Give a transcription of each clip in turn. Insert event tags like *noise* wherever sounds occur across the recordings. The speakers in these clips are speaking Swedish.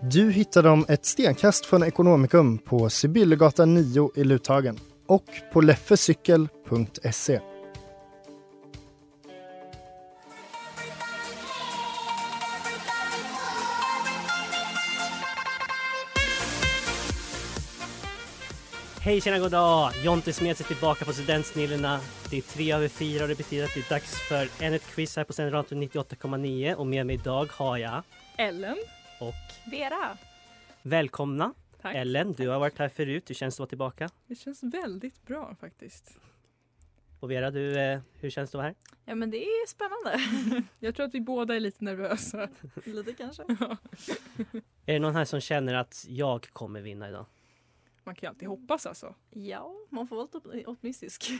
Du hittar dem ett stenkast från Ekonomikum på Sibyllegatan 9 i Luthagen och på leffecykel.se. Hej tjena god dag! Jonte Smeds är tillbaka på Studentsnillena. Det är tre över fyra och det betyder att det är dags för ännu ett quiz här på Studentradion 98,9 och med mig idag har jag Ellen. och Vera. välkomna Tack. Ellen, du har varit här förut. Hur känns det att vara tillbaka? Det känns väldigt bra faktiskt. Och Vera, du, eh, hur känns det att vara här? Ja men det är spännande. Jag tror att vi båda är lite nervösa. Lite kanske. Är det någon här som känner att jag kommer vinna idag? Man kan ju alltid hoppas alltså. Ja, man får vara lite *laughs* optimistisk.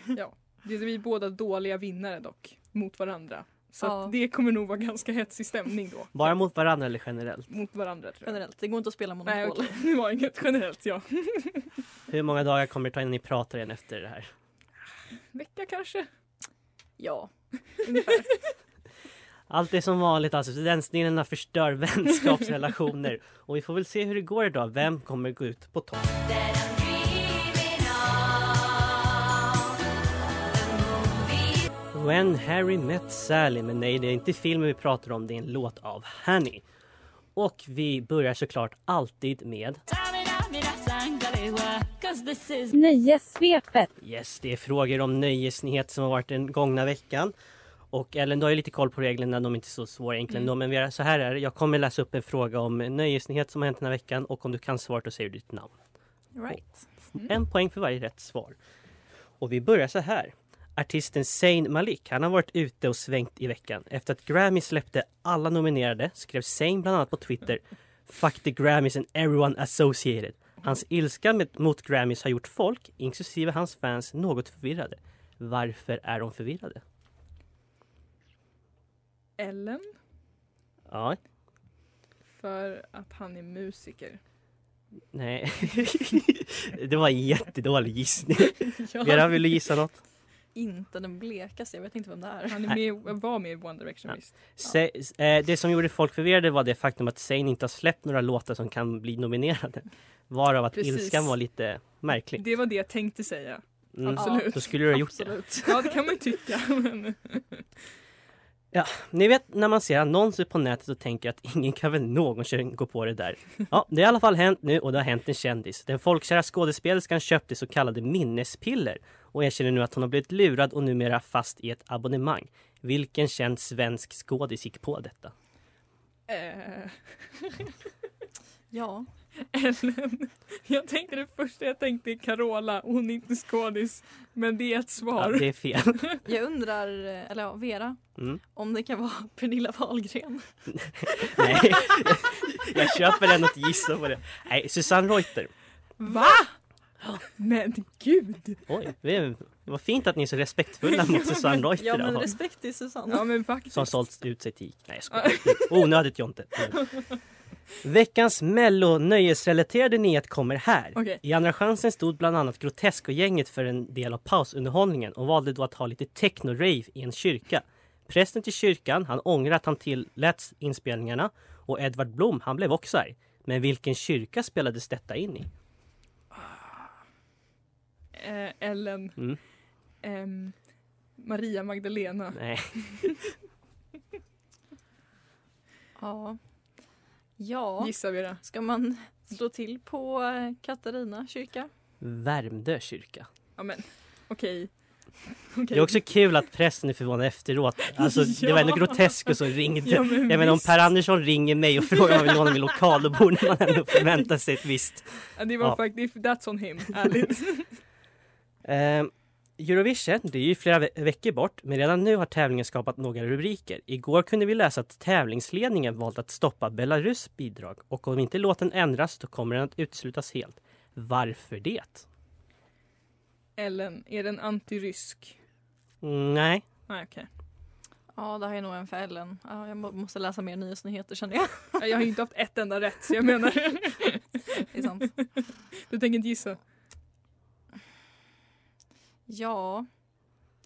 Det är vi båda dåliga vinnare dock, mot varandra. Så Ja. att det kommer nog vara ganska hetsig stämning då. Bara mot varandra eller generellt? Mot varandra tror jag. Generellt, det går inte att spela Nej Monopol. okej, nu var inget generellt ja. Hur många dagar kommer det ta innan ni pratar igen efter det här? Vecka kanske? Ja. *laughs* Allt är som vanligt alltså, studentsnillena förstör vänskapsrelationer och vi får väl se hur det går idag. Vem kommer gå ut på topp? When Harry Met Sally, men nej det är inte filmen vi pratar om, det är en låt av Hanny. Och vi börjar såklart alltid med Nöjessvepet. Yes, det är frågor om nöjesnyhet som har varit den gångna veckan. Och Ellen, du har ju lite koll på reglerna, de är inte så svåra egentligen. då, Men vi är, så här är det, jag kommer läsa upp en fråga om nöjesnyhet som har hänt den här veckan och om du kan svaret då säger du ditt namn. Right. En poäng för varje rätt svar. Och vi börjar så här. Artisten Zayn Malik, han har varit ute och svängt i veckan. Efter att Grammy släppte alla nominerade skrev Zayn bland annat på Twitter Fuck the Grammys and everyone associated. Hans ilska med, mot Grammys har gjort folk, inklusive hans fans, något förvirrade. Varför är de förvirrade? Ellen, Ja, för att han är musiker. *laughs* nej. *laughs* det var en jättedålig gissning. Ja. Vera, vill du gissa något? Inte den blekaste, jag vet inte vem det är. Han är med, var med i One Direction Ja. visst. Se, eh, det som gjorde folk förvirrade var det faktum att Zayn inte har släppt några låtar som kan bli nominerade. Varav att Precis. ilskan var lite märklig. Det var det jag tänkte säga. Mm. absolut. Då skulle du ha gjort det. Absolut. Ja det kan man ju tycka *laughs* men Ni vet när man ser annonser på nätet och tänker att *laughs* ingen kan väl någonsin gå på det där. Ja, det har i alla fall hänt nu och det har hänt en kändis. Den folkkära skådespelerskan köpte så kallade minnespiller och erkänner nu att hon har blivit lurad och numera fast i ett abonnemang. Vilken känd svensk skådis gick på detta? eh, *laughs* Ja. Ellen. Jag tänkte det första jag tänkte är Carola, hon är inte skådis. Men det är ett Ja, svar. det är fel. *laughs* Jag undrar, eh, eller ja, Vera, Mm. om det kan vara Pernilla Wahlgren. Nej, *laughs* jag köper den att gissa på det. Nej, Susanne Reuter. Va? Men gud! Oj, det är- vad fint att ni är så respektfulla mot Susanne Reuter *laughs* Ja men idag, respekt till Susanne. Ja men faktiskt. som sålt ut sig till Ica. Nej, jag skojar. Onödigt Jonte. Veckans mello nöjesrelaterade nyhet kommer här. Okej. I Andra chansen stod bland annat Grotesco-gänget för en del av pausunderhållningen och valde då att ha lite techno-rave i en kyrka. Prästen till kyrkan, han ångrar att han tillät inspelningarna och Edvard Blom, han blev också arg. Men vilken kyrka spelades detta in i? Eh, Ellen. Mm. Ehm, Maria Magdalena. Nej. Ja. Ja. Gissar vi det? Ska man Slå till på eh, Katarina kyrka. Värmdö kyrka. Ja men okej. Okej. Det är också kul att prästen är förvånad efteråt. *laughs* Alltså, Det var ändå Ja. grotesk och så ringde. Ja, men Jag menar om visst. Per Andersson ringer mig och frågar om jag vill låna min lokal då borde man ändå förvänta sig ett visst. Ja, Det var Ja. faktiskt, that's on him, ärligt. Eh, Eurovision, det är ju flera ve- veckor bort, men redan nu har tävlingen skapat några rubriker. Igår kunde vi läsa att tävlingsledningen valt att stoppa Belarus bidrag och om inte låten ändras då kommer den att uteslutas helt. Varför det? Ellen, är den antirysk? Mm, nej, Nej okej. Ja, det här är nog en för Ellen. Ja, jag må- måste läsa mer nyhetsnyheter känner jag. *laughs* Ja, Jag har ju inte haft ett enda rätt så jag menar, *laughs* Det är sant. du tänker inte gissa? Ja,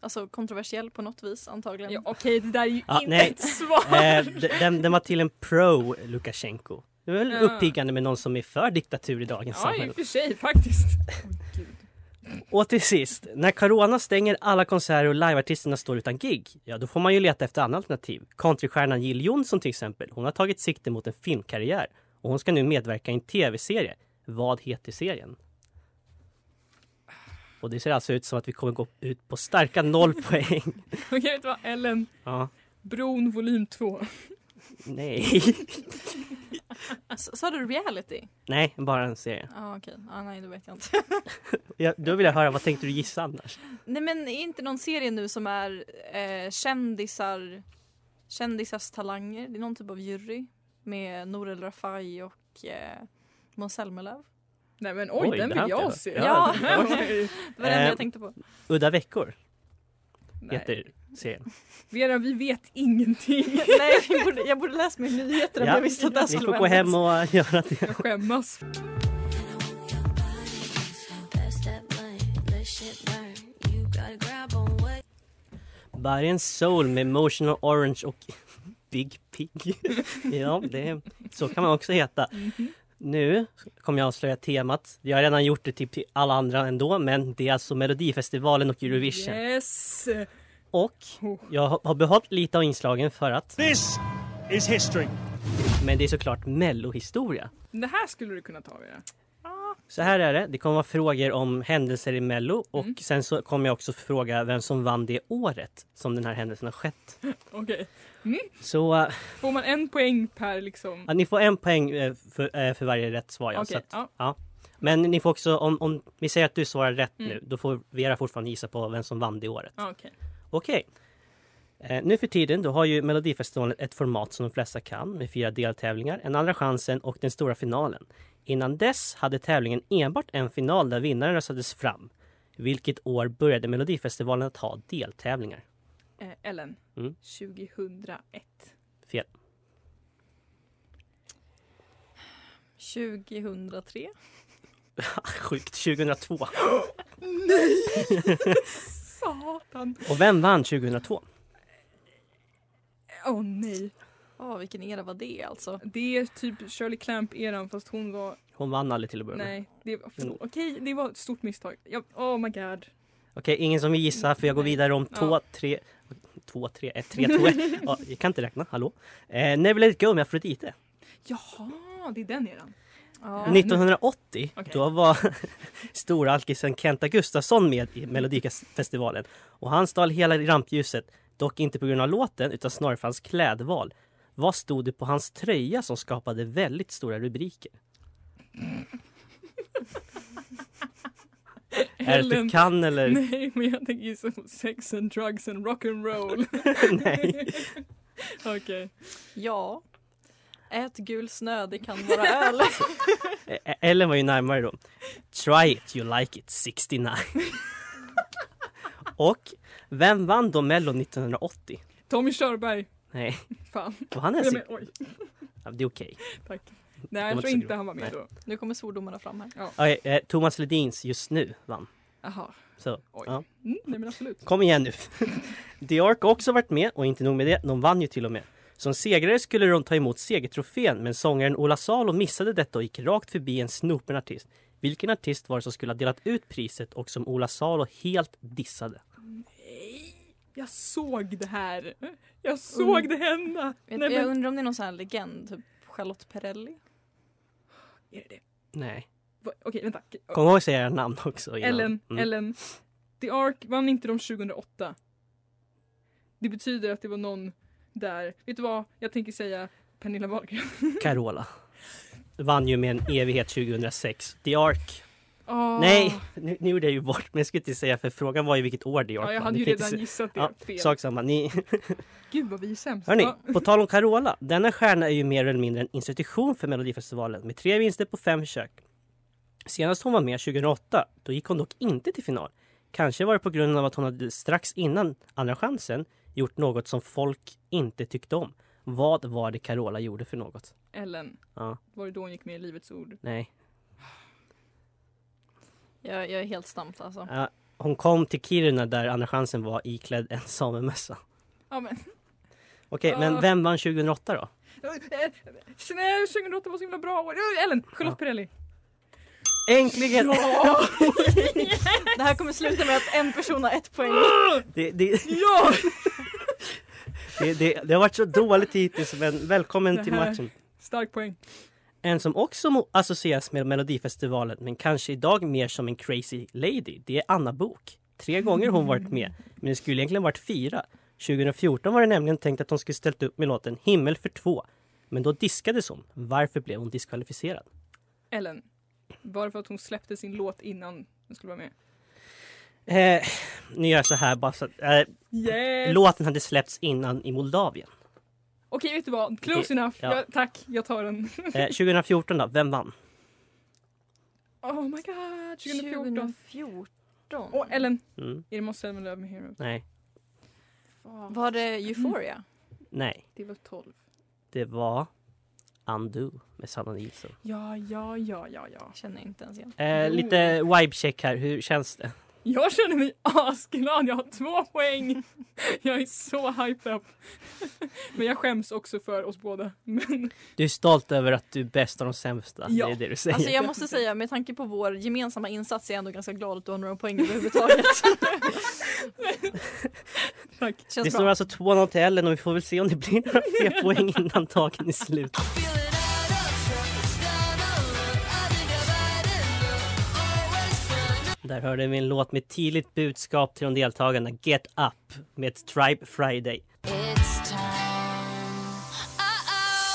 alltså kontroversiell på något vis antagligen. Ja, okej det där är ju Ja, inte nej. ett svar. eh, d- den, den var till en pro Lukasjenko. Det var väl Ja. uppiggande med någon som är för diktatur i dagens Ja i samhälle. och för sig faktiskt. Och till sist, när Corona stänger alla konserter och liveartisterna står utan gig, ja då får man ju leta efter andra alternativ. Countrystjärnan Jill Johnson till exempel, hon har tagit sikte mot en filmkarriär och hon ska nu medverka i en tv-serie. Vad heter serien? Och det ser alltså ut som att vi kommer gå ut på starka noll poäng. Okej vet du vad, Ellen, Ja, Bron volym 2. nej. S- Alltså, Sa du reality? Nej, bara en serie. Ja, okej. Ja, nej, det vet jag inte. Ja, då vill jag höra, vad tänkte du gissa annars? nej, men är inte någon serie nu som är eh, kändisar, kändisars talanger? Det är någon typ av jury med Norel Rafai och eh, Måns Zelmerlöw. Nej men oj, Oj, den det vill här har jag jag. se. Ja. Oj. *laughs* Det var det enda Eh, jag tänkte på. Udda veckor Nej. heter serien. Vera, vi vet ingenting. nej, jag borde, jag borde läst mer nyheter om Ja, jag visste att det här Ni skulle får vara gå ämnet. hem och göra det. Jag skämmas. Bargen Soul med Emotional Orange och *laughs* Big Pig. ja, det, så kan man också heta. Nu kommer jag avslöja temat. Jag har redan gjort det typ till, till alla andra ändå, men det är alltså Melodifestivalen och Eurovision. Yes! Och jag har- har behållit lite av inslagen för att, This is history. men det är såklart mellohistoria. Det här skulle du kunna ta Vera. Så här är det, det kommer vara frågor om händelser i mello och sen så kommer jag också fråga vem som vann det året som den här händelsen har skett. Okej. Så äh, Får man en poäng per liksom? ni får en poäng eh, för, eh, för varje rätt svar. Ja, Okej, så att, ja. Men ni får också, om, om vi säger att du svarar rätt Mm. nu, då får Vera fortfarande gissa på vem som vann det året. Ja, okej. Okej. Eh, nu för tiden, då har ju Melodifestivalen ett format som de flesta kan med fyra deltävlingar, en andra chansen och den stora finalen. Innan dess hade tävlingen enbart en final där vinnaren röstades fram. Vilket år började Melodifestivalen att ha deltävlingar? Eh, Ellen. Mm. 2001. Fel. 2003? Sjukt, *laughs* 2002. Satan! Och vem vann 2002? Åh nej. Åh, vilken era var det alltså? Det är typ Shirley Clamp-eran fast hon var... Hon vann aldrig till att börja med. Nej, det var... förlåt. Okej, det var ett stort misstag. Jag... Oh my god. Okej, ingen som vill gissa för jag går Nej. vidare om Ja. två, tre... Två, tre, ett, tre, två, *laughs* ett. Ja, jag kan inte räkna, hallå? Eh, Never Let It Go med Afrodite. Jaha, det är den eran. Ja. 1980, Okej. då var *laughs* stora alkisen Kenta Gustafsson med i Melodifestivalen. Och han stal hela rampljuset, dock inte på grund av låten utan snarare för hans klädval. Vad stod det på hans tröja som skapade väldigt stora rubriker? Är det att Ellen. du kan eller? Nej, men jag tänker gissa på sex and drugs and *laughs* rock'n'roll. Nej. Okej. ja. Ät gul snö, det kan vara öl. E- E- Ellen var ju närmare då. Try it, you like it, 69. *laughs* Och vem vann då Mello 1980? *laughs* Tommy Körberg. Nej, Fan. var han ens... Jag i- men, oj. Ja, Det är okej. Nej, jag inte tror så inte grov. han var med Nej. då. Nu kommer svordomarna fram här. Okej, eh, Thomas Ledins Just nu vann. Jaha. Så, Oj. ja. Mm, nej men absolut. Kom *laughs* igen nu. The Ark har också varit med och inte nog med det, de vann ju till och med. Som segrare skulle de ta emot segertrofén men sångaren Ola Salo missade detta och gick rakt förbi en snopen artist. Vilken artist var det som skulle ha delat ut priset och som Ola Salo helt dissade? Jag såg det här. Jag såg det hända. Mm. Vet, Nej, jag men... undrar om det är någon sån här legend, typ Charlotte Perrelli? Är det det? Nej. Va- Okej, vänta. Kom ihåg att säga era namn också. innan. Ellen, Mm. Ellen. The Ark vann inte de 2008. Det betyder att det var någon där. Vet du vad? Jag tänker säga Pernilla Wahlgren. Carola. Vann ju med en evighet 2006. The Ark. Ah. Nej, nu, nu gjorde jag ju bort men jag skulle inte säga för frågan var ju vilket år The Ark Ja, jag vann. Ni hade ju kan inte redan se- gissat det. Ja, Fel. Sak samma. Ni, *laughs* Gud vad vi är sämst. Hörni, Ja. på tal om Carola. Denna stjärna är ju mer eller mindre en institution för Melodifestivalen med tre vinster på fem försök. Senast hon var med 2008, då gick hon dock inte till final. Kanske var det på grund av att hon hade strax innan Andra chansen gjort något som folk inte tyckte om. Vad var det Carola gjorde för något? Ellen, Ja, var det då hon gick med i Livets Ord? nej. Jag, jag är helt stamt alltså. Ja, hon kom till Kiruna där Andra chansen var iklädd en samemössa. Ja men, Okej, men Ah. vem vann 2008 då? Eh, nej 2008 var så himla bra år. Eh, Ellen, Charlotte Perrelli. Äntligen! *laughs* Det här kommer sluta med att en person har ett poäng. *laughs* Det, det, Ja! det, det, det har varit så dåligt hittills, men Det välkommen till här- matchen. Stark poäng. En som också mo- associeras med Melodifestivalen, men kanske idag mer som en crazy lady, det är Anna Bok. Tre gånger hon varit med, men det skulle egentligen varit fyra. 2014 var det nämligen tänkt att hon skulle ställt upp med låten Himmel för två, men då diskades hon. Varför blev hon diskvalificerad? Ellen, var det för att hon släppte sin låt innan hon skulle vara med? Eh, nu gör jag så här bara så att, eh, Yes! Låten hade släppts innan i Moldavien. Okej, vet du vad? Close enough. ja. Jag, tack, jag tar den. *laughs* Eh, 2014 då, vem vann? Oh my god, 2014. 2014. Åh, Ellen, Mm, är det Måns Zelmerlöw med Hero? nej, Var det Euphoria? nej, Det var 12. det var Undo med Sanna Nilsson. Ja, ja, ja, ja, ja. Känner inte ens igen. Eh, lite vibecheck här, hur känns det? Jag känner mig asglad, jag har två poäng. *laughs* Jag är så hyped up. *laughs* Men jag skäms också för oss båda. Men Du är stolt över att du är bäst av de sämsta, Ja. det är det du säger. Alltså jag måste säga, med tanke på vår gemensamma insats är jag ändå ganska glad att du har några poäng *laughs* överhuvudtaget. Tack. det Känns står bra. alltså 2-0 till Ellen och vi får väl se om det blir några *laughs* fler poäng innan dagen är slut. Där hörde vi en låt med tydligt budskap till de deltagarna, Get Up, med ett Tribe Friday.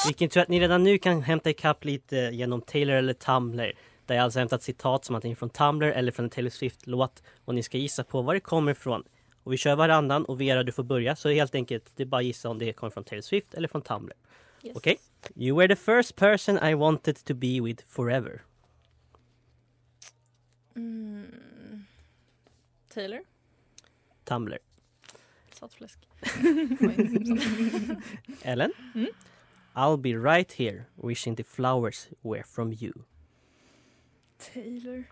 Vilken tror jag att ni redan nu kan hämta ikapp lite genom Taylor eller Tumblr. Där jag alltså hämtat citat som antingen från Tumblr eller från en Taylor Swift-låt. Och ni ska gissa på var det kommer ifrån. Och vi kör varannan och Vera du får börja. Så helt enkelt, det är bara att gissa om det kommer från Taylor Swift eller från Tumblr. Yes. Okej? You were the first person I wanted to be with forever. Mm. Taylor? *laughs* Tumblr. Saltfläsk. Oj, Ellen? Mm. I'll be right here wishing the flowers were from you. Taylor.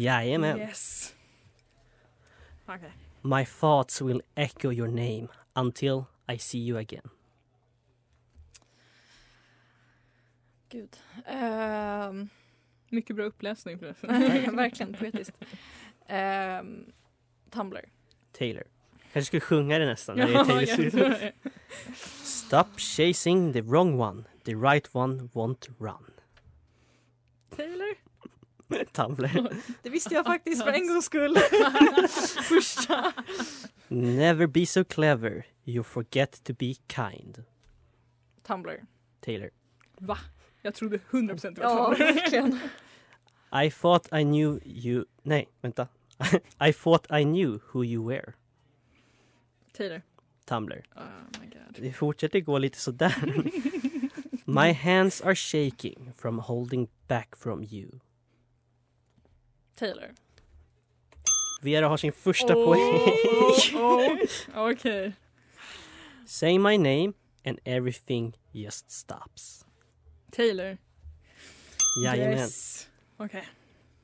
Jajamän. Yes. Okej. My thoughts will echo your name until I see you again. Gud. Ehm, Mycket bra *laughs* uppläsning förresten. *laughs* verkligen poetiskt. Ehm, Tumblr. Taylor. Kanske skulle sjunga det nästan. när det är Ja, Taylor jag Swift. tror det. Stop chasing the wrong one. The right one won't run. Taylor? *laughs* Tumblr. Det visste jag faktiskt för en gångs skull. Första. Never be so clever. You forget to be kind. Tumblr. Taylor. Va? Jag trodde 100% det var Ja, Tumblr. verkligen. I thought I knew you... Nej, vänta. *laughs* I thought I knew who you were. *laughs* Taylor. Tumblr. Oh my god. Det fortsätter gå lite sådär. My hands are shaking from holding back from you. Taylor. Vera har sin första poäng. Oh, oh. *laughs* Okej. Say my name and everything just stops. Taylor. Jajamän. Yes. Okej.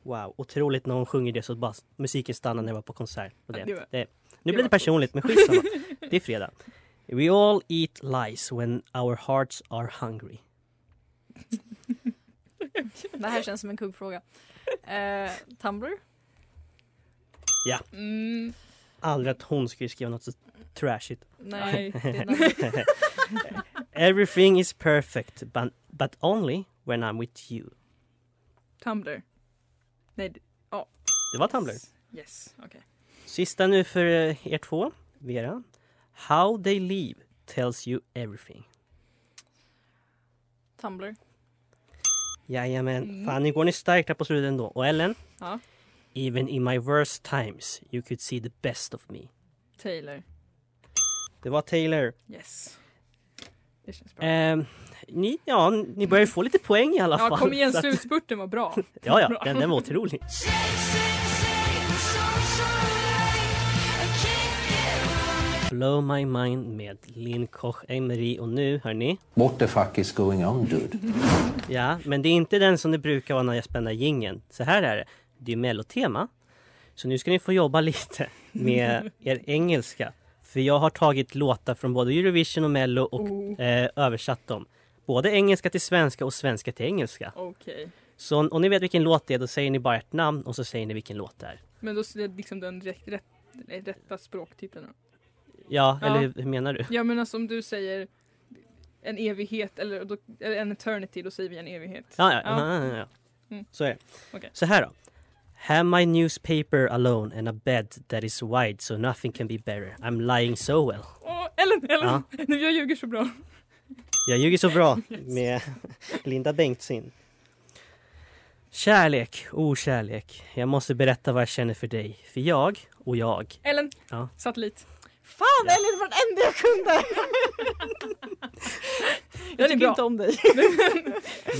Wow, otroligt när hon sjunger det så bara musiken stannar när jag var på konsert. Och det, Ja, det var- det, det nu blir det var personligt, men *laughs* skitsamma. det är fredag. We all eat lies when our hearts are hungry. Det här känns som en kuggfråga. Eh, Tumblr. Mm, Aldrig att hon skulle skriva något så trashigt. *laughs* Nej. Nej. det är den. Everything is perfect but, but only when I'm with you. Tumblr. Nej, det- Det var Tumblr. yes. Okej. Sista nu för eh, er två, Vera. How they leave tells you everything. Tumblr. Jajamän. Mm. Fan, nu går ni starkt här på slutet ändå. Och Ellen? Ja. Even in my worst times you could see the best of me. Taylor. Det var Taylor. Yes. Det känns bra. Ehm, ni, ja, ni börjar ju få lite poäng i alla fall. ja, kom igen, Så att- slutspurten *laughs* var bra. Ja, ja, den, den var otrolig. Blow My Mind med Linn Koch Emery och nu hörni. What the fuck is going on, dude? Ja, men det är inte den som det brukar vara när jag spänner gingen. Så här är det. Det är ju mellotema. Så nu ska ni få jobba *laughs* lite med er engelska. För jag har tagit låtar från både Eurovision och mello och Oh, eh, översatt dem. Både engelska till svenska och svenska till engelska. Okej. Så om- om ni vet vilken låt det är, då säger ni bara ert namn och så säger ni vilken låt det är. Men då är det liksom den rätt, rätt, rätta språktiteln. då. Ja, Ja. eller hur, hur menar du? Ja men alltså om du säger en evighet eller, då, eller en eternity, då säger vi en evighet. Ja, ja, Ja. ja. ja, ja. Mm. Så är det. Okej. Så här då. Have my newspaper alone and a bed that is wide so nothing can be better. I'm lying so well. Åh, Ellen, Ellen! Ja. *laughs* Nu, jag ljuger så bra. Jag ljuger så *laughs* bra med Linda Bengtzing. Kärlek, o kärlek. Jag måste berätta vad jag känner för dig. För jag och jag. Ellen, Ja. satellit. Fan Elin, det var den enda jag kunde! *laughs* jag är tycker bra. inte om dig. Det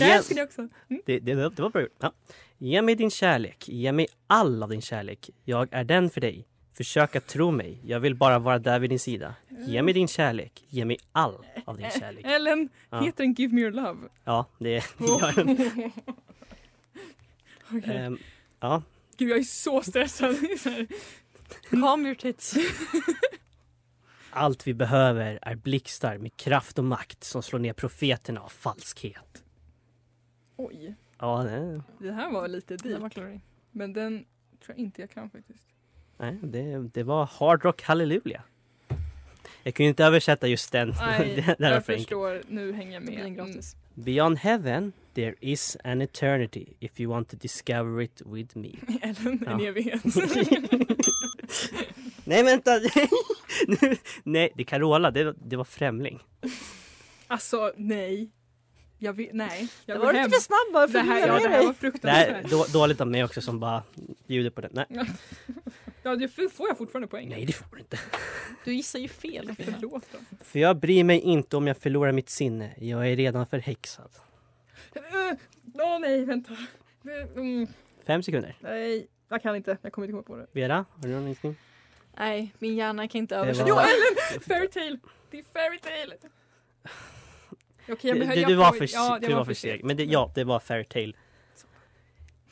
här Ge- skulle jag också. Det, det, var- det var bra gjort. Ja. Ge mig din kärlek, ge mig all av din kärlek. Jag är den för dig. Försök att tro mig, jag vill bara vara där vid din sida. Ge mig din kärlek, ge mig all av din kärlek. Ellen, Ja. heter den Give Me Your Love? Ja, det det gör den. Okej. Eh. Ehm, ja. Gud, jag är så stressad. *laughs* Så *laughs* här. Calm your tits. Allt vi behöver är blixtar med kraft och makt som slår ner profeterna av falskhet. Oj, Ja, det, det här var lite Den var deep. klurig. Men den tror jag inte jag kan faktiskt. nej, det, det var Hard Rock Hallelujah. Jag kunde inte översätta just *laughs* den. *laughs* Nej, Den var jag för enkel. förstår. Nu hänger jag Det med. är en Mm. gratis. Beyond heaven there is an eternity if you want to discover it with *laughs* me. Ellen, Mm. en Ja. evighet. Nej vänta! *laughs* Nu- nej, det är Carola, det, var- det var Främling. *laughs* alltså, nej. Jag vill, nej. Jag Det går var hem. lite snabbare Det för här, du ja, det med dig. här var Det här, fruktansvärt. då, dåligt av mig också som bara bjuder på det. Nej, Ja, det f- får jag fortfarande poäng. nej det får du inte. Du gissar ju fel. Förlåt då. *laughs* För jag bryr mig inte om jag förlorar mitt sinne. Jag är redan förhäxad. Eh, Åh nej, vänta. Eh, Mm, Fem sekunder. nej, jag kan inte. Jag kommer inte komma på det. Vera, har du någon gissning? Nej, min hjärna kan inte Det översätta. var- *laughs* Fairytale! Det är fairytale! Okej, Du, men du, jag du var får- för, ja, det du var för seg. Men det, ja, det var Fairytale.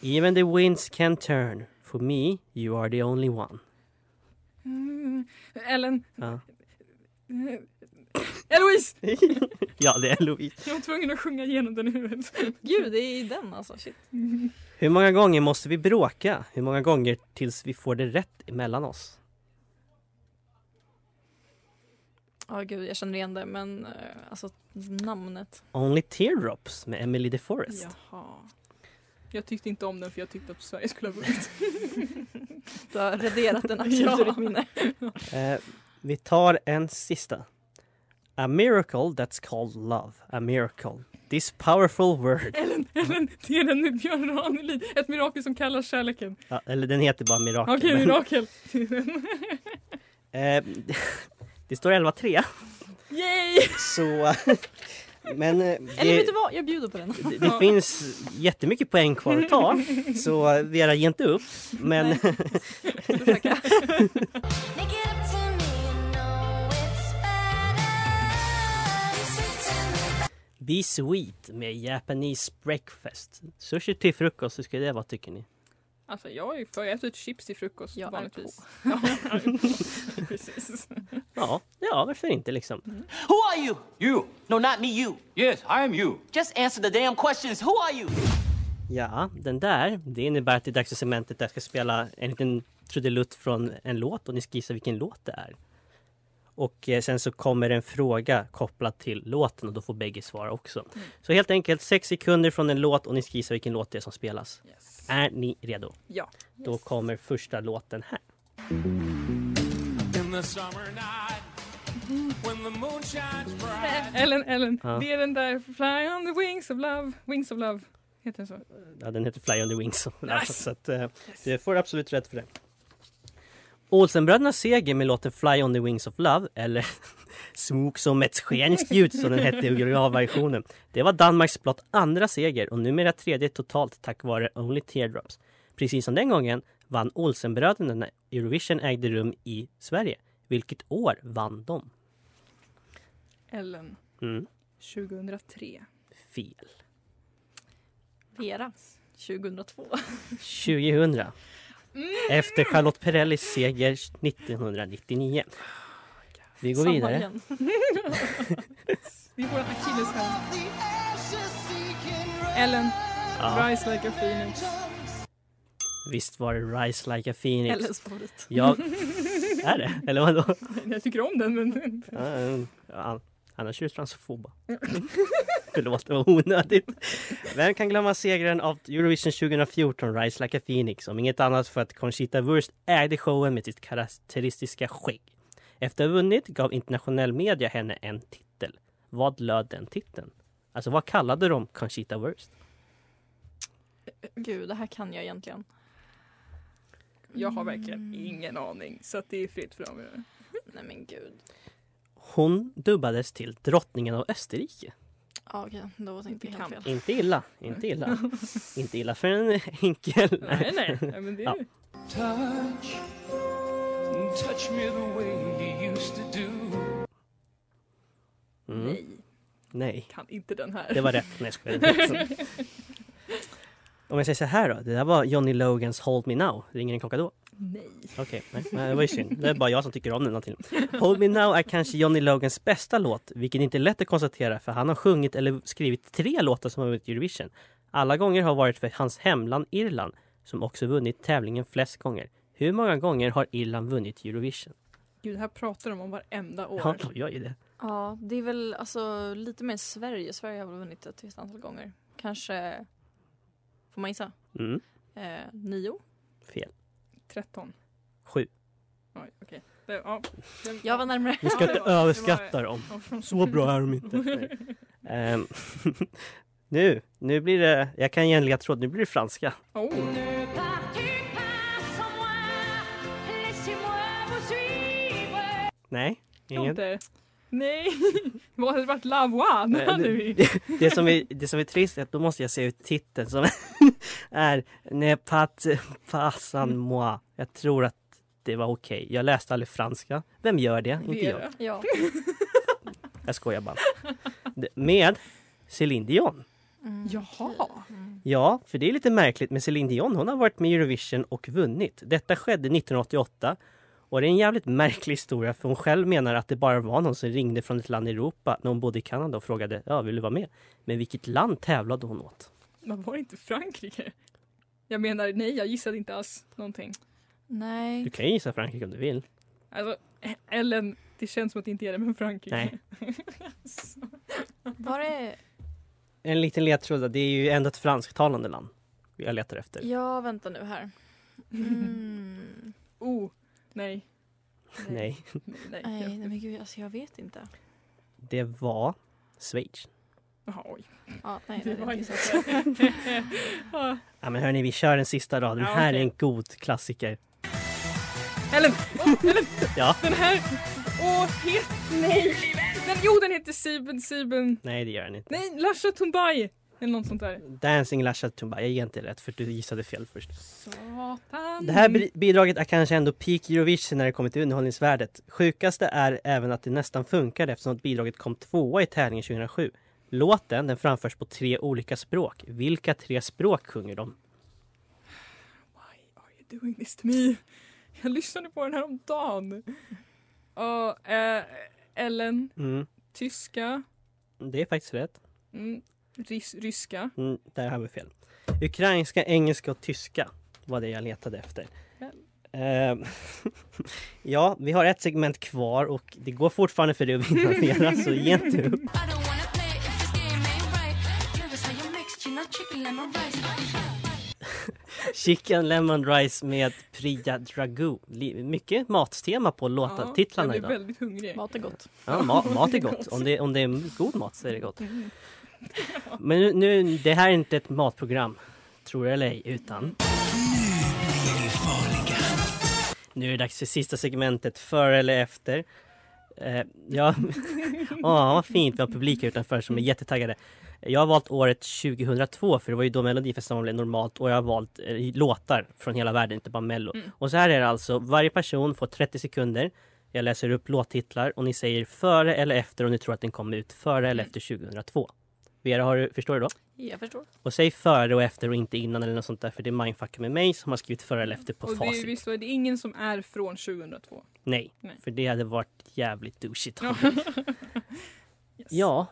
Even the winds can turn. For me, you are the only one. Mm, Ellen. *laughs* Ja, eh, Eloise! ja det är Louise. Jag var tvungen att sjunga igenom den i huvudet. Gud, det är ju den alltså. Shit. Hur många gånger måste vi bråka? Hur många gånger tills vi får det rätt emellan oss? Ja, gud, jag känner igen det, men eh, alltså namnet. Only Teardrops med Emily DeForest. Jaha. Jag tyckte inte om den för jag tyckte att Sverige skulle ha vunnit. *laughs* Du har raderat den absolut Ja. ur ditt minne. Eh, vi tar en sista. A miracle that's called love. A miracle. This powerful word. *laughs* Ellen, Ellen, det är den med Björn Ranelid. Ett mirakel som kallas kärleken. Ja, eller den heter bara mirakel. Okej, men- *laughs* mirakel. *laughs* Eh, *laughs* det står 11-3. Yay! Så... *laughs* Men eh, Eller vet det, du vad, jag bjuder på den. det, det finns jättemycket poäng kvar att ta. Så Vera, ge inte upp. Men Jag ska försöka. *laughs* Be Sweet med Japanese Breakfast. Sushi till frukost, hur ska det vara tycker ni? Alltså jag är för, jag äter ett chips till frukost Jag är vanligtvis. *laughs* Ja, precis. Ja, ja varför inte liksom. Who are you? You. No, not me, you. Yes, I am you. Just answer the damn questions. Who are you? Ja, den där, det innebär att det är dags för segmentet där jag ska spela en liten trudelutt från en låt och ni ska gissa vilken låt det är. Och eh, sen så kommer en fråga kopplad till låten och då får bägge svara också. Så helt enkelt sex sekunder från en låt och ni ska gissa vilken låt det är som spelas. Är ni redo? Ja. Då kommer första låten här. In the summer night, when the moon shines bright. Ellen, Ellen. Ja. Det är den där Fly on the wings of love. Wings of love. Heter den så? Ja, den heter Fly on the Wings. *laughs* Alltså, så att, eh, Du får absolut rätt för det. Olsenbrödernas seger med låten Fly on the Wings of Love, eller *laughs* Smok som ett skeniskt ljus som den hette i originalversionen. Det var Danmarks blott andra seger och numera tredje totalt tack vare Only Teardrops. Precis som den gången vann Olsenbröderna när Eurovision ägde rum i Sverige. Vilket år vann de? Ellen. Mm, 2003. fel. Vera. 2002. 2000. Efter Charlotte Perrellis seger 1999. Vi går Samma vidare. igen. Det är vår akilleshäl. Ellen. Ja. Rise like a phoenix. *laughs* Visst var det Rise Like a Phoenix? Ellens favorit. Ja, är det? Eller vadå? Jag tycker om den men... Ja, mm. Ja, annars är du transfoba. Förlåt, *laughs* det var onödigt. Vem kan glömma segern av Eurovision 2014, Rise Like a Phoenix, om inget annat för att Conchita Wurst ägde showen med sitt karaktäristiska skägg. Efter att ha vunnit gav internationell media henne en titel. Vad löd den titeln? Alltså vad kallade de Conchita Wurst? Gud, det här kan jag egentligen. Jag har verkligen ingen aning så att det är fritt fram. Nej men gud. Hon dubbades till drottningen av Österrike. Ja, okej, då tänkte jag helt fel. Inte illa, inte illa. inte illa för en enkel. *laughs* Nej, nej. Nej, men det är- Touch, touch me the way you used to do. Mm. Nej. Nej. Kan inte den här. Det var rätt. Nej, jag *laughs* skojar. Om jag säger så här då. Det där var Johnny Logans Hold Me Now. Ringer en klocka då? Nej. Okej, nej, nej, det var ju synd. Det är bara jag som tycker om den. Till. Hold Me Now är kanske Johnny Logans bästa låt, vilket inte är lätt att konstatera för han har sjungit eller skrivit tre låtar som har vunnit Eurovision. Alla gånger har varit för hans hemland Irland, som också vunnit tävlingen flest gånger. Hur många gånger har Irland vunnit Eurovision? Gud, det här pratar de om varenda år. Ja, de gör ju det. Ja, det är väl alltså lite mer Sverige. Sverige har väl vunnit ett visst antal gånger. Kanske, får man gissa? Mm, Eh, nio? fel. 13. Sju. Oj, okej. Det- Ja, det- Jag var närmare. Vi ska Ja, det inte var- det var- överskatta dem. Ja. Så bra är de inte. Nej. Ehm, *laughs* nu, nu blir det, jag kan ge en ledtråd, nu blir det franska. Oh. Nej, ingen. Inte. Nej! *laughs* Vad hade det varit La Voix? Nu hade *laughs* vi... Det som är, det som är trist är att då måste jag se ut titeln som *laughs* är Ne pat passan moi. Jag tror att det var okej. Jag läste aldrig franska. Vem gör det? Inte jag. Ja. Jag skojar bara. Det- Med Céline Dion. *laughs* Jaha! Mm. Ja, för det är lite märkligt med Céline Dion. Hon har varit med i Eurovision och vunnit. Detta skedde 1988. Och det är en jävligt märklig historia för hon själv menar att det bara var någon som ringde från ett land i Europa när hon bodde i Kanada och frågade ja, vill du vara med? Men vilket land tävlade hon åt? Men var det inte Frankrike? Jag menar, nej, jag gissade inte alls någonting. Du Nej. kan ju gissa Frankrike om du vill. Alltså, Ellen, det känns som att det inte är det, men Frankrike. *laughs* Nej. Var det... En liten ledtråd, det är ju ändå ett fransktalande land jag letar efter. Ja, vänta nu här. Mm. Oh, nej. Nej, Nej, nej. Nej, nej. nej men gud, alltså jag vet inte. det var Schweiz. Jaha, oj. Ja, nej, Det nej, var nej. ju så *laughs* att- Ja, men hörni, vi kör den sista då. Den Ja, här okej. är en god klassiker. Ellen! Oh, Ellen! Ja. Den här... Åh, het... Nej! Den, jo, den heter Siben Siben... Nej, det gör den inte. Nej, Lasha Tumbai! Eller något sånt där. Dancing Lasha Tumba. Jag ger inte rätt för du gissade fel först. Satan! Det här bi- bidraget är kanske ändå peak Eurovision när det kommer till underhållningsvärdet. Sjukaste är även att det nästan funkade eftersom att bidraget kom tvåa i tävlingen 2007. Låten den framförs på tre olika språk. Vilka tre språk sjunger de? You're doing this to me. Jag lyssnade på den här om dagen. Och, eh, Ellen, Mm, tyska, det är faktiskt rätt. mm, rys, ryska. Mm, där har vi fel. Ukrainska, engelska och tyska var det jag letade efter. Ehm, *laughs* ja, vi har ett segment kvar och det går fortfarande för dig att vinna Vera, så ge inte upp. Chicken Lemon Rice med Priya Dragu. Li- Mycket mattema på låtarna, titlarna jag blir idag. väldigt hungrig. Mat är gott. Ja, ma- mat är gott. Om det, om det är god mat så är det gott. Men nu, nu, det här är inte ett matprogram, tror jag eller ej, utan... Nu är det dags för sista segmentet, före eller efter. Eh, ja, *laughs* ah, vad fint, vi har publik här utanför som är jättetaggade. Jag har valt året 2002, för det var ju då Melodifestivalen blev normalt, och jag har valt eh, låtar från hela världen, inte bara Mello. Mm. Och så här är det alltså, varje person får 30 sekunder. Jag läser upp låttitlar och ni säger före eller efter om ni tror att den kom ut före eller efter 2002. Vera, har du, förstår du då? Jag förstår. Och säg före och efter och inte innan eller något sånt där för det är mindfucka med mig som har skrivit före eller efter på och det, facit. är- visst var det ingen som är från 2002? Nej, Nej. för det hade varit jävligt douchigt. Ja. *laughs* Ja.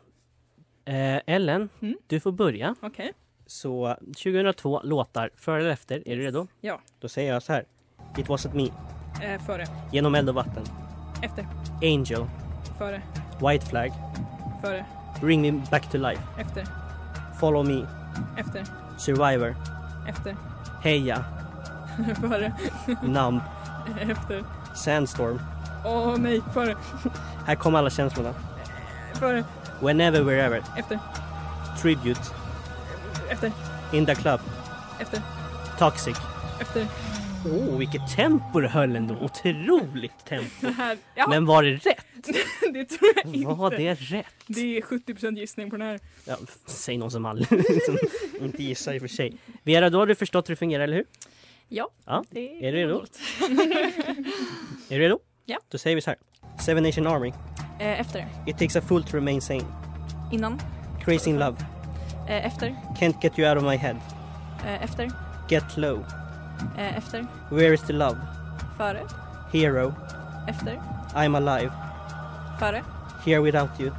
Eh, Ellen, Mm. du får börja. Okej. Så 2002 låtar, före eller efter. Är du redo? Ja. Då säger jag så här. It wasn't me. Eh, före. Genom eld och vatten. Efter. Angel. Före. White flag. Före. Bring me back to life. Efter. Follow me. Efter. Survivor. Efter. *laughs* Heja. före. Numb. efter. Sandstorm. Åh nej. Före. Här kommer alla känslorna. Före. Whenever, wherever. Efter. Tribute. Efter. In the club. Efter. Toxic. Efter. Åh, oh, vilket tempo du höll ändå! Otroligt tempo! Det här. Ja, Men *laughs* var det rätt? *laughs* det tror jag inte. Var det rätt? Det är 70 gissning på den här. Ja, f- säg någon som aldrig *laughs* som inte gissar i och för sig. Vera, då har du förstått hur det fungerar, eller hur? Ja. Ja, Det Är du redo? gott. *laughs* Är du redo? Ja. Då säger vi så här. Seven Nation Army. Eh, efter. It takes a fool to remain sane. Innan. Crazy in love. Eh, efter. Can't get you out of my head. Eh, efter. Get low. Eh, efter. Where is the love? Före. Hero. Efter. I'm alive. Före. Here without you.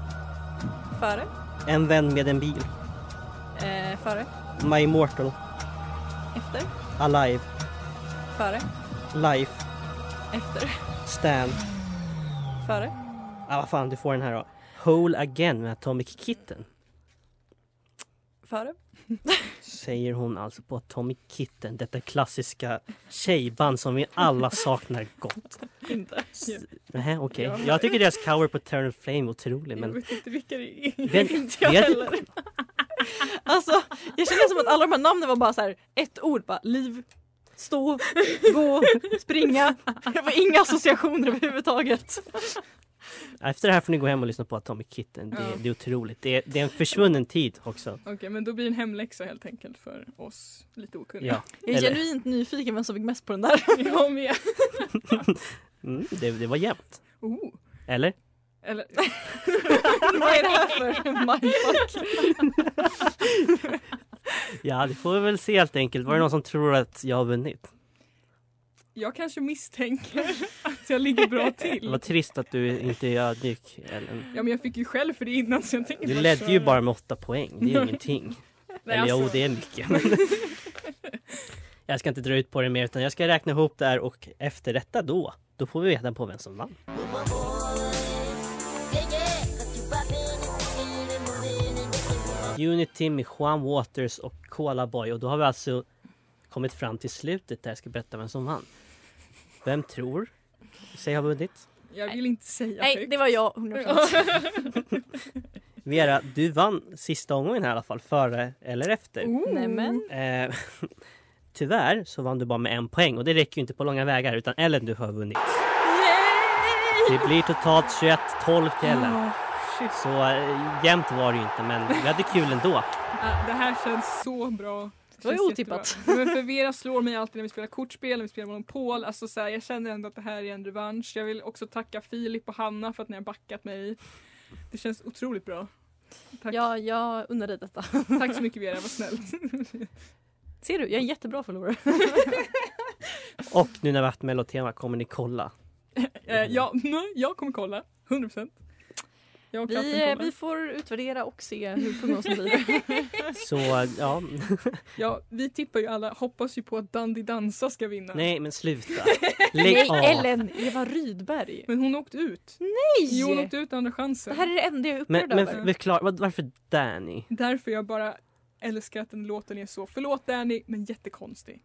Före. En vän med en bil. Eh, före. My immortal. Efter. Alive. Före. Life. Efter. Stan. Före. Ah, vad fan, du får den här då. Whole Again med Atomic Kitten. Före. Säger hon alltså på Atomic Kitten, detta klassiska tjejband som vi alla saknar gott. Inte. Jag, Nähä, okej. Ja. Jag tycker deras cover på Turn of Flame är otrolig, jag men... vet inte vilka det är. Vet- inte jag vet- heller. Alltså, jag känner som att alla de här namnen var bara så här ett ord. Bara liv, stå, gå, springa. Jag var inga associationer överhuvudtaget. Efter det här får ni gå hem och lyssna på Atomic Kitten. Det, Ja. det är otroligt. Det är, det är en försvunnen tid också. Okej, men då blir det en hemläxa helt enkelt för oss lite okunniga. Ja. Jag är Eller- genuint nyfiken vem som fick mest på den *laughs* där. *laughs* Ja. Jag med. *laughs* Mm, det, det var jämnt. Oh. Eller? *laughs* Eller, Vad är det här för mindfuck? Ja, det får vi väl se helt enkelt. Var det någon som tror att jag har vunnit? jag kanske misstänker att jag ligger bra till. Vad trist att du inte är ödmjuk, Ellen. Ja men jag fick ju själv för det innan så jag tänker Du bara ledde ju köra. bara med åtta poäng. Det är ju ingenting. Nej, Eller jo, alltså, det är mycket. men- jag ska inte dra ut på det mer utan jag ska räkna ihop det här och efter detta då, då får vi veta på vem som vann. Unity med Juan Waters och Cola Boy och då har vi alltså kommit fram till slutet där jag ska berätta vem som vann. Vem tror sig ha vunnit? Jag vill inte säga Nej, högt. det var jag 100%. Vera, du vann sista omgången här i alla fall, före eller efter. Oh. Nämen. Eh, *laughs* tyvärr så vann du bara med en poäng och det räcker ju inte på långa vägar utan Ellen du har vunnit. Det blir totalt 21-12 till Ellen. shit. Så eh, jämnt var det ju inte men vi hade kul ändå. Ah, Det här känns så bra. Det var ju Känns otippat. jättebra. Men för Vera slår mig alltid när vi spelar kortspel, när vi spelar monopol. Alltså så här, jag känner ändå att det här är en revansch. Jag vill också tacka Filip och Hanna för att ni har backat mig. Det känns otroligt bra. Tack, Ja, jag undrar dig detta. *laughs* tack så mycket Vera, vad snällt. *laughs* Ser du, jag är en jättebra förlorare. Och nu när vi har haft mellotema kommer ni kolla. Eh, ja, nej, jag kommer kolla, 100%. Jag och katten Vi, eh, kommer. vi får utvärdera och se hur prognosen *laughs* blir. Så ja, *laughs* Ja, vi tippar ju alla, hoppas ju på att Dandy Dansa ska vinna. nej men sluta. Lägg av. Eva Rydberg. Men hon åkte ut. Nej! Jo, hon åkte ut andra chansen. Det här är det enda *laughs* jag är Men, upprörd men över. förklara, vad- varför Danny? Därför jag bara älskar att den låten är så, förlåt Danny, men jättekonstig.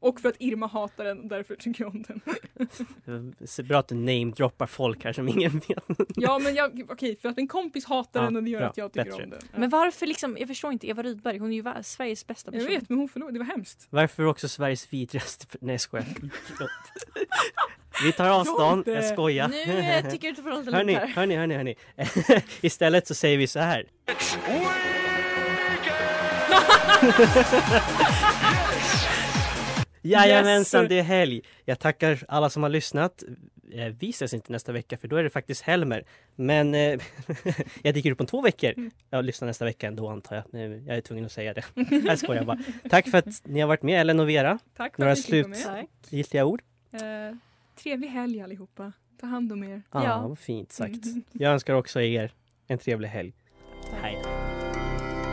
Och för att Irma hatar den och därför tycker jag om den. Så bra att du namedroppar folk här som ingen vet. Ja men jag, okej, för att en kompis hatar Ja, den och det gör bra, att jag tycker bättre. om den. Men varför liksom, jag förstår inte, Eva Rydberg hon är ju vär- Sveriges bästa Jag person. vet, men hon förlorade, det var hemskt. Varför också Sveriges vidrigaste... *laughs* Nej jag skojar. Förlåt. Vi tar avstånd, jag Jonte! skojar. Nu eh, tycker jag du får ta det lugnt Hörni, här. hörni, hörni, *laughs* hörni. Istället så säger vi så här. Jajamensan, Yes! det är helg. Jag tackar alla som har lyssnat. Eh, Vi ses inte nästa vecka för då är det faktiskt Helmer. Men eh, *laughs* jag dyker upp om två veckor. Jag lyssnar nästa vecka ändå antar jag. Nu- Jag är tvungen att säga det. *laughs* Jag skojar bara. Tack för att ni har varit med Ellen och Vera. Tack för Några att ni fick vara slut- med. Giltiga ord? Eh, trevlig helg allihopa. Ta hand om er. Ja, Ja. Ah, vad fint sagt. Mm. Jag önskar också er en trevlig helg. Hej.